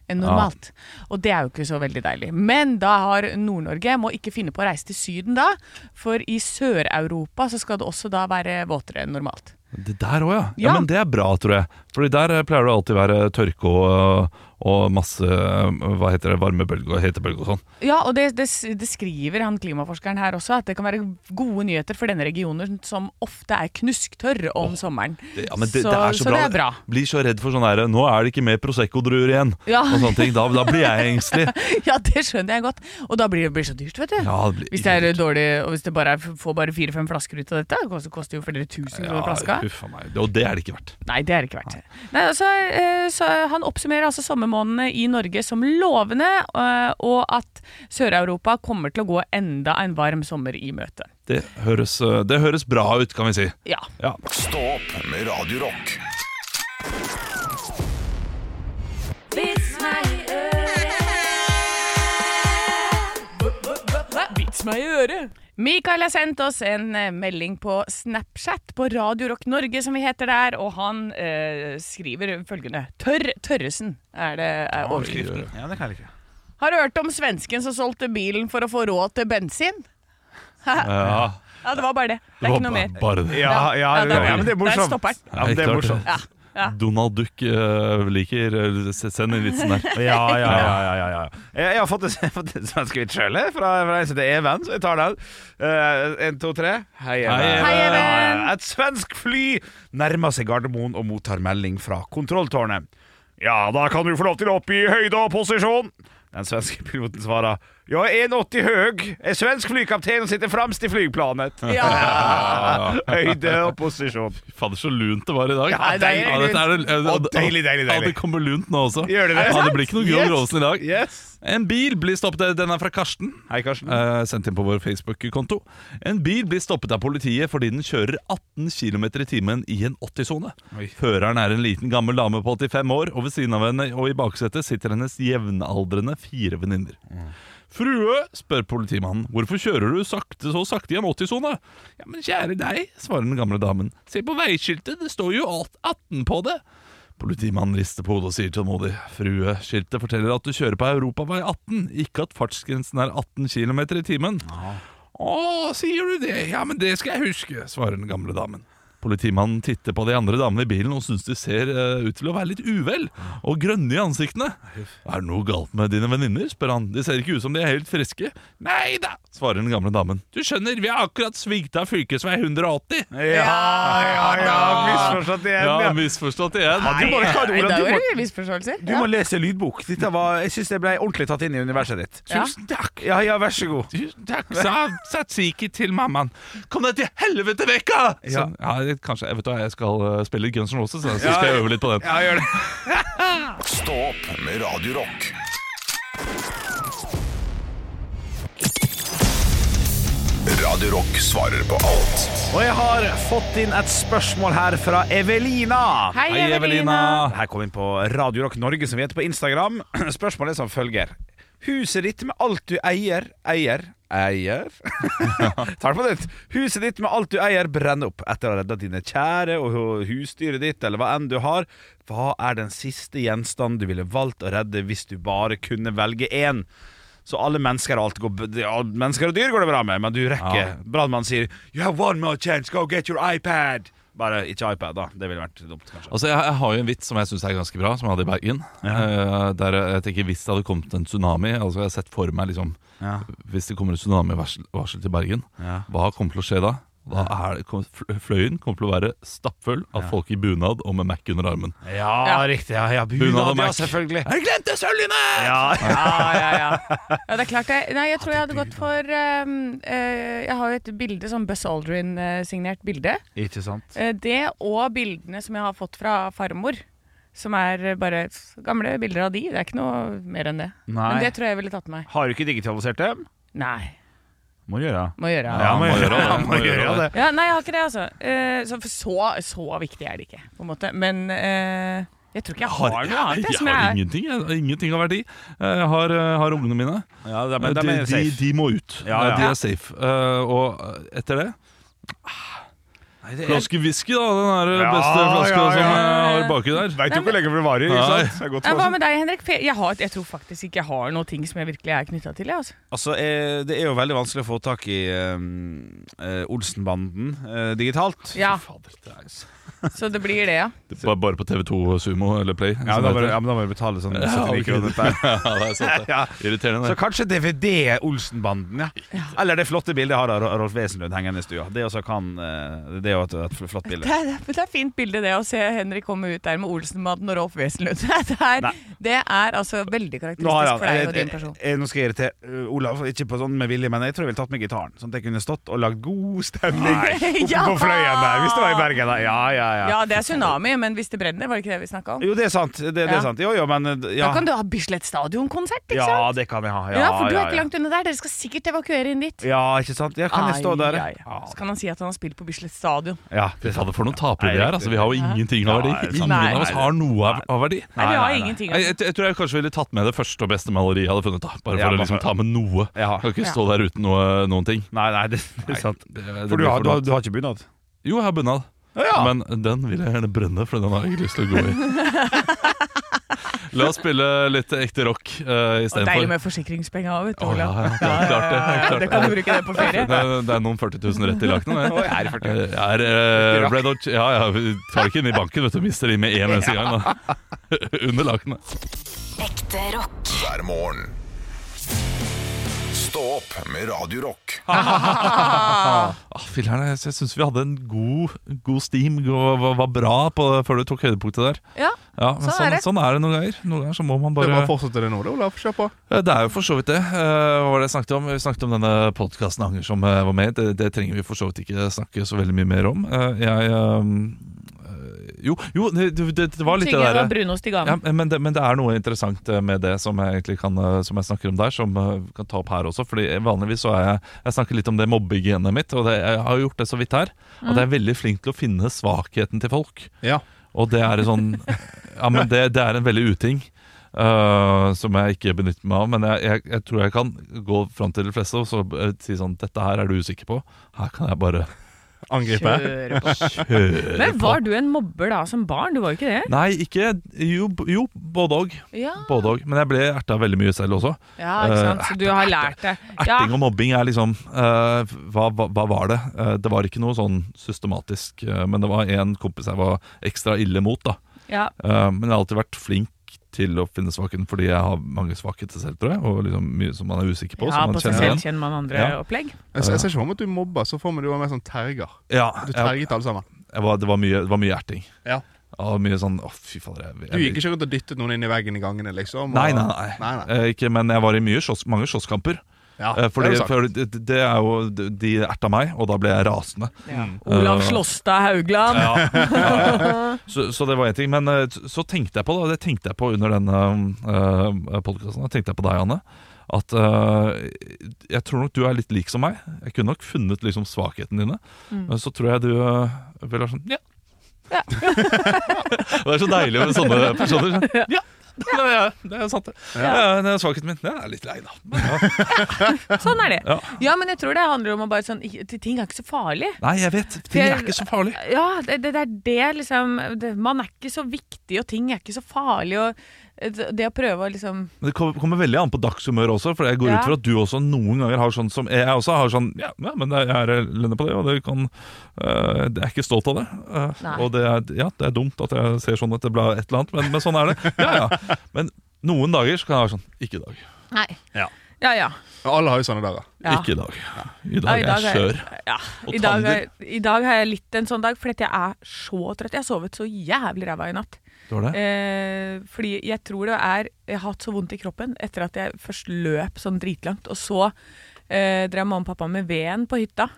enn normalt. Og det er jo ikke så veldig deilig. Men da har Nord-Norge må ikke finne på å reise til Syden da, for i Sør-Europa så skal det også da være våtere enn normalt.
Det der òg, ja. ja.
Ja.
Men det er bra, tror jeg. Fordi der eh, pleier det alltid være tørke og, og masse eh, hva heter det, varmebølge og hetebølge og sånn.
Ja, og det, det, det skriver han klimaforskeren her også, at det kan være gode nyheter for denne regionen som ofte er knusktørr om sommeren.
Det- Ja, men det,
så,
det er så, bra.
det er bra.
Blir så redd for sånn her Nå er det ikke mer Prosecco-druer igjen.
Ja.
Og sånne ting. Da, da blir jeg engstelig.
Ja, det skjønner jeg godt. Og da blir det blir så dyrt, vet du.
Ja, det blir
Hvis det er dårlig, og hvis det bare er, får bare fire-fem flasker ut av dette, det koster- koster jo flere tusen kroner flaska.
Ja, huff a meg. Og det er det ikke verdt.
Nei, det er ikke verdt det. Nei, altså, eh, så han oppsummerer altså sommermånedene i Norge som lovende, eh, og at Sør-Europa kommer til å gå enda en varm sommer i møte.
Det høres, eh, det høres bra ut, kan vi si.
Ja.
Ja.
Stå opp med Radio Rock.
Vits meg i øret! Mikael har sendt oss en eh, melding på Snapchat på Radio Rock Norge, som vi heter der, og han eh, skriver følgende. Tørr Tørresen er det er overskriften.
Ja, det kan jeg ikke.
Har du hørt om svensken som solgte bilen for å få råd til bensin?
Ja,
Ja, det var bare det. Det er ikke noe
bare,
mer.
bare det.
Ja, ja,
Ja,
ja,
der-
men det er
Der
morsomt.
stopper den.
Ja, men det
Helt
er
klart
morsomt.
Ja.
Donald Duck eh, liker eh, s- Send en vitsen der.
Ja, ja, ja, ja, ja, ja. Jeg jeg har fått en, jeg har fått en svensk vits sjøl, fra, fra en som heter Even, så jeg tar den. Eh, en, to, tre. Hei, Even.
Hei, Even.
Hei, Even.
Et svensk fly nærmer seg Gardermoen og mottar melding fra kontrolltårnet. Ja, da kan du få lov til å oppgi høyde og posisjon. Den svenske piloten svarer Jeg er 1,80 høg. Er svensk flykaptein og sitter fremst i flyplanet.
Ja.
høyde og posisjon.
Fy Fader, så lunt det var i dag.
Ja, deilig
Ja, dette er, det-
lunt. Å, deilig, deilig, deilig.
Ja, det kommer lunt nå også.
Gjør det det?
Ja, det blir ikke noe Gunn
Yes.
Rolsen i dag.
Yes.
En bil blir stoppet Den er fra Karsten.
Hei, Karsten.
Eh, sendt inn på vår Facebook-konto. En bil blir stoppet av politiet fordi den kjører 18 km i timen i en 80-sone. Føreren er en liten gammel dame på 85 år, og ved siden av henne og i baksetet sitter hennes jevnaldrende fire venninner. Frue, spør politimannen, hvorfor kjører du sakte så sakte i en 80-sone? Ja, men kjære deg, svarer den gamle damen, se på veiskiltet, det står jo alt 18 på det. Politimannen rister på hodet og sier tålmodig Frueskiltet forteller at du kjører på Europavei 18, ikke at fartsgrensen er 18 km i timen. Å, sier du det? Ja, men det skal jeg huske, svarer den gamle damen. Politimannen titter på de andre damene i bilen og syns de ser eh, ut til å være litt uvel og grønne i ansiktene. Er det noe galt med dine venninner? spør han. De ser ikke ut som de er helt friske. Nei da, svarer den gamle damen. Du skjønner, vi har akkurat svingt av fylkesvei 180.
Ja, ja, ja. Misforstått igjen.
Ja,
ja.
misforstått igjen.
Du må, Karl
Nei,
Olav,
da
du
var
må
det misforståelser.
Du må lese lydbok. Dette var, jeg syns jeg ble ordentlig tatt inn i universet ditt.
Ja.
takk.
Ja, ja, vær så god.
Tusen takk, sa Satsiki til mammaen. Kom deg til helvete vekk, da! Ja.
Sånn.
ja, det- kanskje, jeg vet du hva, jeg skal eh, spille litt Guns N' Roses, så jeg
Ja.
skal jeg øve litt på den.
Ja, gjør det.
Stå opp med Radio Rock. Radio Rock svarer på alt.
Og jeg har fått inn et spørsmål her fra Evelina.
Hei, Evelina.
Her kom inn på Radio Rock Norge, som vi heter på Instagram. Spørsmålet er som følger. Huset ditt med alt du eier, eier, eier Tar det på nytt. Huset ditt med alt du eier, brenner opp etter å ha redda dine kjære og husdyret ditt, eller hva enn du har. Hva er den siste gjenstanden du ville valgt å redde hvis du bare kunne velge én? Så alle mennesker og, alt går, ja, mennesker og dyr går det bra med, men du rekker
Ja.
Brannmannen sier 'You have one more chance, go get your iPad'. Bare ikke iPad, da. Det ville vært dumt, kanskje.
Altså, jeg, jeg har jo en vits som jeg syns er ganske bra, som jeg hadde i Bergen. Eh, der jeg, jeg tenker Hvis det hadde kommet en tsunami Altså, jeg har sett for meg liksom
Ja.
Hvis det kommer et tsunamivarsel varsel til Bergen,
Ja.
hva kommer til å skje da? Da er det, kom- fl- Fløyen kommer til å være stappfull av folk i bunad og med Mac under armen.
Ja,
Ja.
riktig. Ja, ja,
Bunad og
bunad, ja,
Mac.
selvfølgelig.
Jeg glemte sølvene!
Ja.
Ja, ja, ja. ja, det er klart det. Nei, jeg tror jeg hadde gått for um, eh, Jeg har jo et bilde, sånn Buzz Aldrin-signert bilde.
Ikke sant?
Eh, det og bildene som jeg har fått fra farmor. Som er eh, bare s- gamle bilder av de. Det er ikke noe mer enn det.
Nei.
Men det tror jeg jeg ville tatt med meg.
Har du ikke digitalisert dem?
Nei.
Må gjøre det.
Må gjøre det.
Ja, må gjøre det.
Må gjøre det.
Ja, nei, jeg har ikke det, altså. Eh, så, for så, så viktig er det ikke, på en måte. Men eh, Jeg tror ikke jeg har noe annet. Jeg,
jeg
som
har
jeg,
ingenting, jeg, ingenting av verdi. Jeg har, eh, har ungene mine.
Ja, de, men
Eh, de,
de er
de,
safe.
de må ut.
Ja, ja.
De er safe. Eh, og etter det
Nei, det er,
Flaske whisky, da. Den der
Ja,
beste flaska
ja, ja.
som jeg har baki der.
Veit jo hvor lenge det varer. ikke
Nei.
sant? Det er godt
Nei,
for
hva
oss.
med deg, Henrik? For jeg- Jeg, har, jeg tror faktisk ikke jeg har noe ting som jeg virkelig er knytta til. Jeg, altså.
altså, eh, det er jo veldig vanskelig å få tak i ehm, eh, Olsenbanden eh, digitalt.
Ja,
Fader, det er så-
Så det blir det, ja.
Det var bare på TV2 Sumo eller Play.
Ja,
som
da
det
må du
heter.
ja, men da må du betale sånn
Ja,
79 kroner per.
ja, det er sant. Det.
Ja.
Irriterende.
Så
det.
kanskje DVD Olsenbanden, ja. Eller det flotte bildet jeg har av Rolf Wesenlund hengende i stua. Det, også kan, eh, det er jo et, et flott
Det
bilde.
er, det er fint bilde, det, å se Henrik komme ut der med Olsenmannen og Rolf Wesenlund. Det er,
Nei.
det er altså veldig
Nå, har
karakteristisk
jeg,
for deg og
jeg,
din
jeg,
person.
nå skal jeg irritere eh, Olav, ikke på sånn med vilje, men jeg tror jeg ville tatt med gitaren. Sånn at jeg kunne stått og lagd god stemning oppe
Ja!
på fløyen der. Hvis det var i Bergen, da. Ja, ja, ja.
Ja, det er tsunami, men hvis det brenner, var det ikke det vi snakka om?
Jo, det er sant. Det, det
Ja.
er sant. Jo, jo, men eh,
Da
ja.
kan du ha Bislett Stadion-konsert, ikke
ja,
sant?
det kan jeg ha.
Ja,
Ja,
for du er
ja,
ikke
ja.
langt unna der. Dere skal sikkert evakuere inn dit.
Ja, ikke sant? Ja, kan jeg stå der?
Ai, ai, ai. Så kan han si at han har spilt på Bislett Stadion.
Ja,
Fy fader, for noen tapere
Nei,
vi er.
riktig.
Altså, vi har jo ingenting av
Nei,
verdi. Ingen
nei,
av oss
nei.
har noe av, av verdi.
Nei, vi
Nei,
har
nei, nei.
ingenting. altså.
Jeg, jeg, jeg tror jeg kanskje ville tatt med det første og beste maleriet jeg hadde funnet. da Bare for
Ja,
å
bare
liksom
for-
ta med noe.
Ja.
Kan ikke stå der uten noe, noen ting.
Nei, nei, det, det er sant.
Det- det
For du
blir
har, du har,
dumt.
du har ikke bunad?
Jo, jeg har bunad.
Men-
Men den vil jeg gjerne brenne, for den har jeg ikke lyst til å gå i. La oss spille litt ekte rock uh,
Og deilig
istedenfor.
med forsikringspenger òg, vet du,
Å, ja,
Olav.
ja, det er klart det. det er klart
Det kan du bruke det på ferie.
Det, er- det er noen 40 000 rett i lakenet.
Å, jeg er i 40
Jeg er eh, Red Hot Ja, ja, vi tar ikke inn i banken, vet du. Mister de med en eneste gang, da. Under lakenet.
Ekte rock.
hver morgen. Stå opp med Radio Rock.
Ah, Filler'n, jeg, jeg syns vi hadde en god, god steam. Var, var- var bra på, før du tok høydepunktet der.
Ja,
Ja, men
Sånn
sånn,
er
sånn,
det.
er det noen ganger. Noen ganger så må man
Det
bare
er bare å fortsette det nå, da, Olav. Kjør på.
Eh, Det er jo for så vidt det. Eh, Hva var det jeg snakket om? Vi snakket om denne podkasten Anger som eh, var med. Det, det trenger vi for så vidt ikke snakke så veldig mye mer om. Eh, Jeg eh, eh, Jo, jo det, det, det var litt det eh,
Siggen
derre
og brunost i
ja,
gangen.
men, det, men det er noe interessant eh, med det som jeg, egentlig kan, eh, som jeg snakker om der, som eh, vi kan ta opp her også. Fordi eh, vanligvis så er jeg Jeg snakker litt om det mobbegenet mitt, og det, jeg har gjort det så vidt her. At jeg er veldig flink til å finne svakheten til folk.
Ja.
Og det er en sånn Ja, men det, det er en veldig uting. eh, som jeg ikke benytter meg av, men jeg, jeg, jeg tror jeg kan gå fram til de fleste og så eh, si sånn Dette her er du usikker på. Her kan jeg bare
Angripe.
Kjør på.
høre
Men var du en mobber da som barn? Du var jo ikke det?
Nei, ikke Jo, b- jo både òg.
Ja,
Både og. Men jeg ble erta veldig mye selv også.
ja ikke sant. Så du har lært det. Ja.
Eh, Erting og mobbing er liksom eh, hva, hva, hva var det? Eh, det var ikke noe sånn systematisk, eh, men det var en kompis jeg var ekstra ille mot. da
Ja.
Eh, Men jeg har alltid vært flink til å finne svakheten fordi jeg har mange svakheter selv, tror jeg. Og liksom mye som man er usikker på.
Ja,
som
på
man
seg
kjenner
selv
igjen.
kjenner man andre
Ja.
opplegg.
Jeg, ser- jeg ser ikke for meg at du mobber, så får vi du er mer sånn terger.
Ja,
Du
jeg,
terget alle sammen.
jeg var, det, var mye, det var mye erting.
Ja.
Ja, mye sånn Å, fy fader. Jeg, jeg,
Du gikk ikke rundt og dyttet noen inn i veggen i gangene, liksom? og-
Nei, nei, nei.
nei, nei.
Eh, Ikke, men jeg var i mye slåss, mange slåsskamper.
Ja,
Eh,
det er
Fordi,
jo sant.
for det, det er jo De erta meg, og da ble jeg rasende.
Olav
Eh,
Slåstad Haugland.
Så, så det var én ting. Men eh, så tenkte jeg på da, det tenkte jeg på under denne uh, podkasten, tenkte jeg på deg, Anne, at eh, jeg tror nok du er litt lik som meg. Jeg kunne nok funnet liksom svakhetene dine. Men så tror jeg du uh, ville vært sånn Mm. Ja. det er så deilig med sånne personer. sånn, Ja. Det er, det er sant, det. Ja, det er svakheten min. Den er litt lei, da. Men ja.
Sånn er det.
Ja.
Ja, men jeg tror det handler om å bare sånn ikke- Ting er ikke så farlig.
Nei, jeg vet. Ting er ikke så farlig.
Ja, det, det det er det liksom det, Man er ikke så viktig, og ting er ikke så farlig, og eh, det det å prøve å liksom
Men det kom- kommer veldig an på dagshumør også, for jeg går
Ja.
ut fra at du også noen ganger har sånn som jeg også har sånn Ja, ja men jeg er lende på det, og det kan øh, Jeg er ikke stolt av det. øh,
Nei.
og det er, ja, det er dumt at jeg ser sånn at det blir et eller annet, men, men sånn er det. Ja, ja. Men noen dager så kan jeg være sånn Ikke i dag.
Nei.
Ja.
Ja, ja.
Men Alle har jo sånne dager.
ja.
Ikke i dag. I
Ja,
dag er jeg skjør.
Ja,
og
i, dag
tander.
er, I dag har jeg litt en sånn dag, fordi at jeg er så trøtt. Jeg har sovet så jævlig ræva i natt.
Det var det.
Eh, fordi jeg tror det er Jeg har hatt så vondt i kroppen etter at jeg først løp sånn dritlangt, og så eh, drev mamma og pappa med veden på hytta.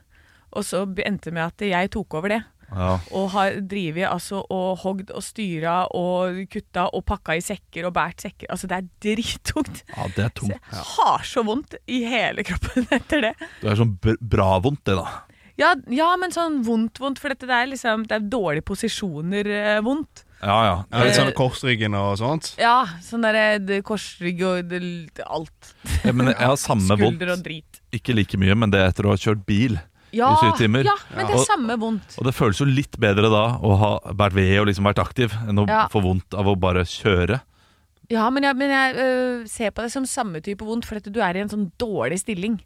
Og så be- endte det med at jeg tok over det.
Ja.
Og har drevet altså, og hogd og styra og kutta og pakka i sekker og båret sekker. Altså, det er drittungt.
ja, det er
Så jeg
tungt.
har så vondt i hele kroppen etter det.
Det er sånn br- bra-vondt, det, da.
Ja, ja men sånn vondt-vondt, for dette det er liksom Det er dårlige posisjoner eh, vondt.
Ja, ja.
Ja, litt sånn korsryggen og sånt.
Ja, sånn derre det- korsrygg og det- alt.
Ja, men jeg har samme vondt.
Skulder og drit.
Ikke like mye, men det er etter å ha kjørt bil
Ja,
i syv timer.
ja, men det er
Og-
samme vondt.
Og det føles jo litt bedre da å ha vært ved og liksom vært aktiv, enn å
Ja.
få vondt av å bare kjøre.
Ja, men jeg, men jeg øh, ser på det som samme type vondt, for at du er i en sånn dårlig stilling.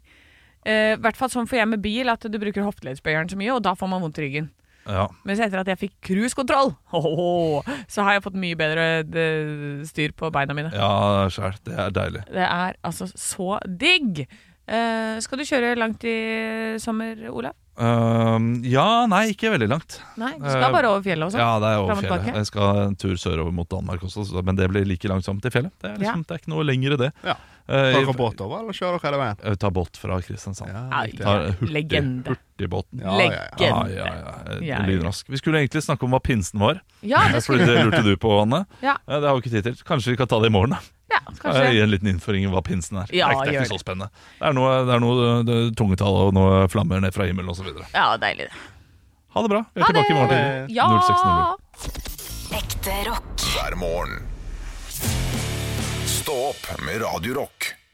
Eh, I hvert fall sånn får jeg med bil, at du bruker hofteleddsbøyeren så mye, og da får man vondt i ryggen.
Ja.
Mens etter at jeg fikk cruisekontroll, hohoho, så har jeg fått mye bedre eh, styr på beina mine.
Ja, sjæl. Det er deilig.
Det er altså så digg! Eh, skal du kjøre langt i sommer, Olav?
Ehm, ja, nei, ikke veldig langt.
Nei, du skal
Eh,
bare over fjellet og sånn.
Ja, det er over
Fram og
fjellet.
tilbake?
Jeg skal en tur sørover mot Danmark også, så- men det blir like langt som til fjellet. Det er, liksom,
Ja.
det er ikke noe lengre, det.
Ja.
Eh,
Tar
jeg-
dere båt over, eller kjører dere hele veien?
jeg tar båt fra Kristiansand.
Nei,
riktig.
Tar hurtig-
Legende.
Hurtigbåten.
Ja, ja, ja.
Ja,
Legende.
ja, ja.
Ja, ja.
Lynrask. Vi skulle egentlig snakke om hva pinsen var.
Ja, det
Fordi
skulle
det lurte du på, Anne.
Ja.
Eh, Det har vi ikke tid til. Kanskje vi kan ta det i morgen, da.
ja,
Eh, Gi
kanskje.
en liten innføring i hva pinsen er.
Ja,
det er, ikke- det er
gjør
ikke så spennende. Det er noe, det er noe eh, tungetall og noe flammer ned fra himmelen osv.
Ja, deilig det.
Ha det bra. Vi er tilbake i morgen tidlig.
Ja!
06.00.
Ekte rock.
hver morgen. Stå opp med Radio Rock.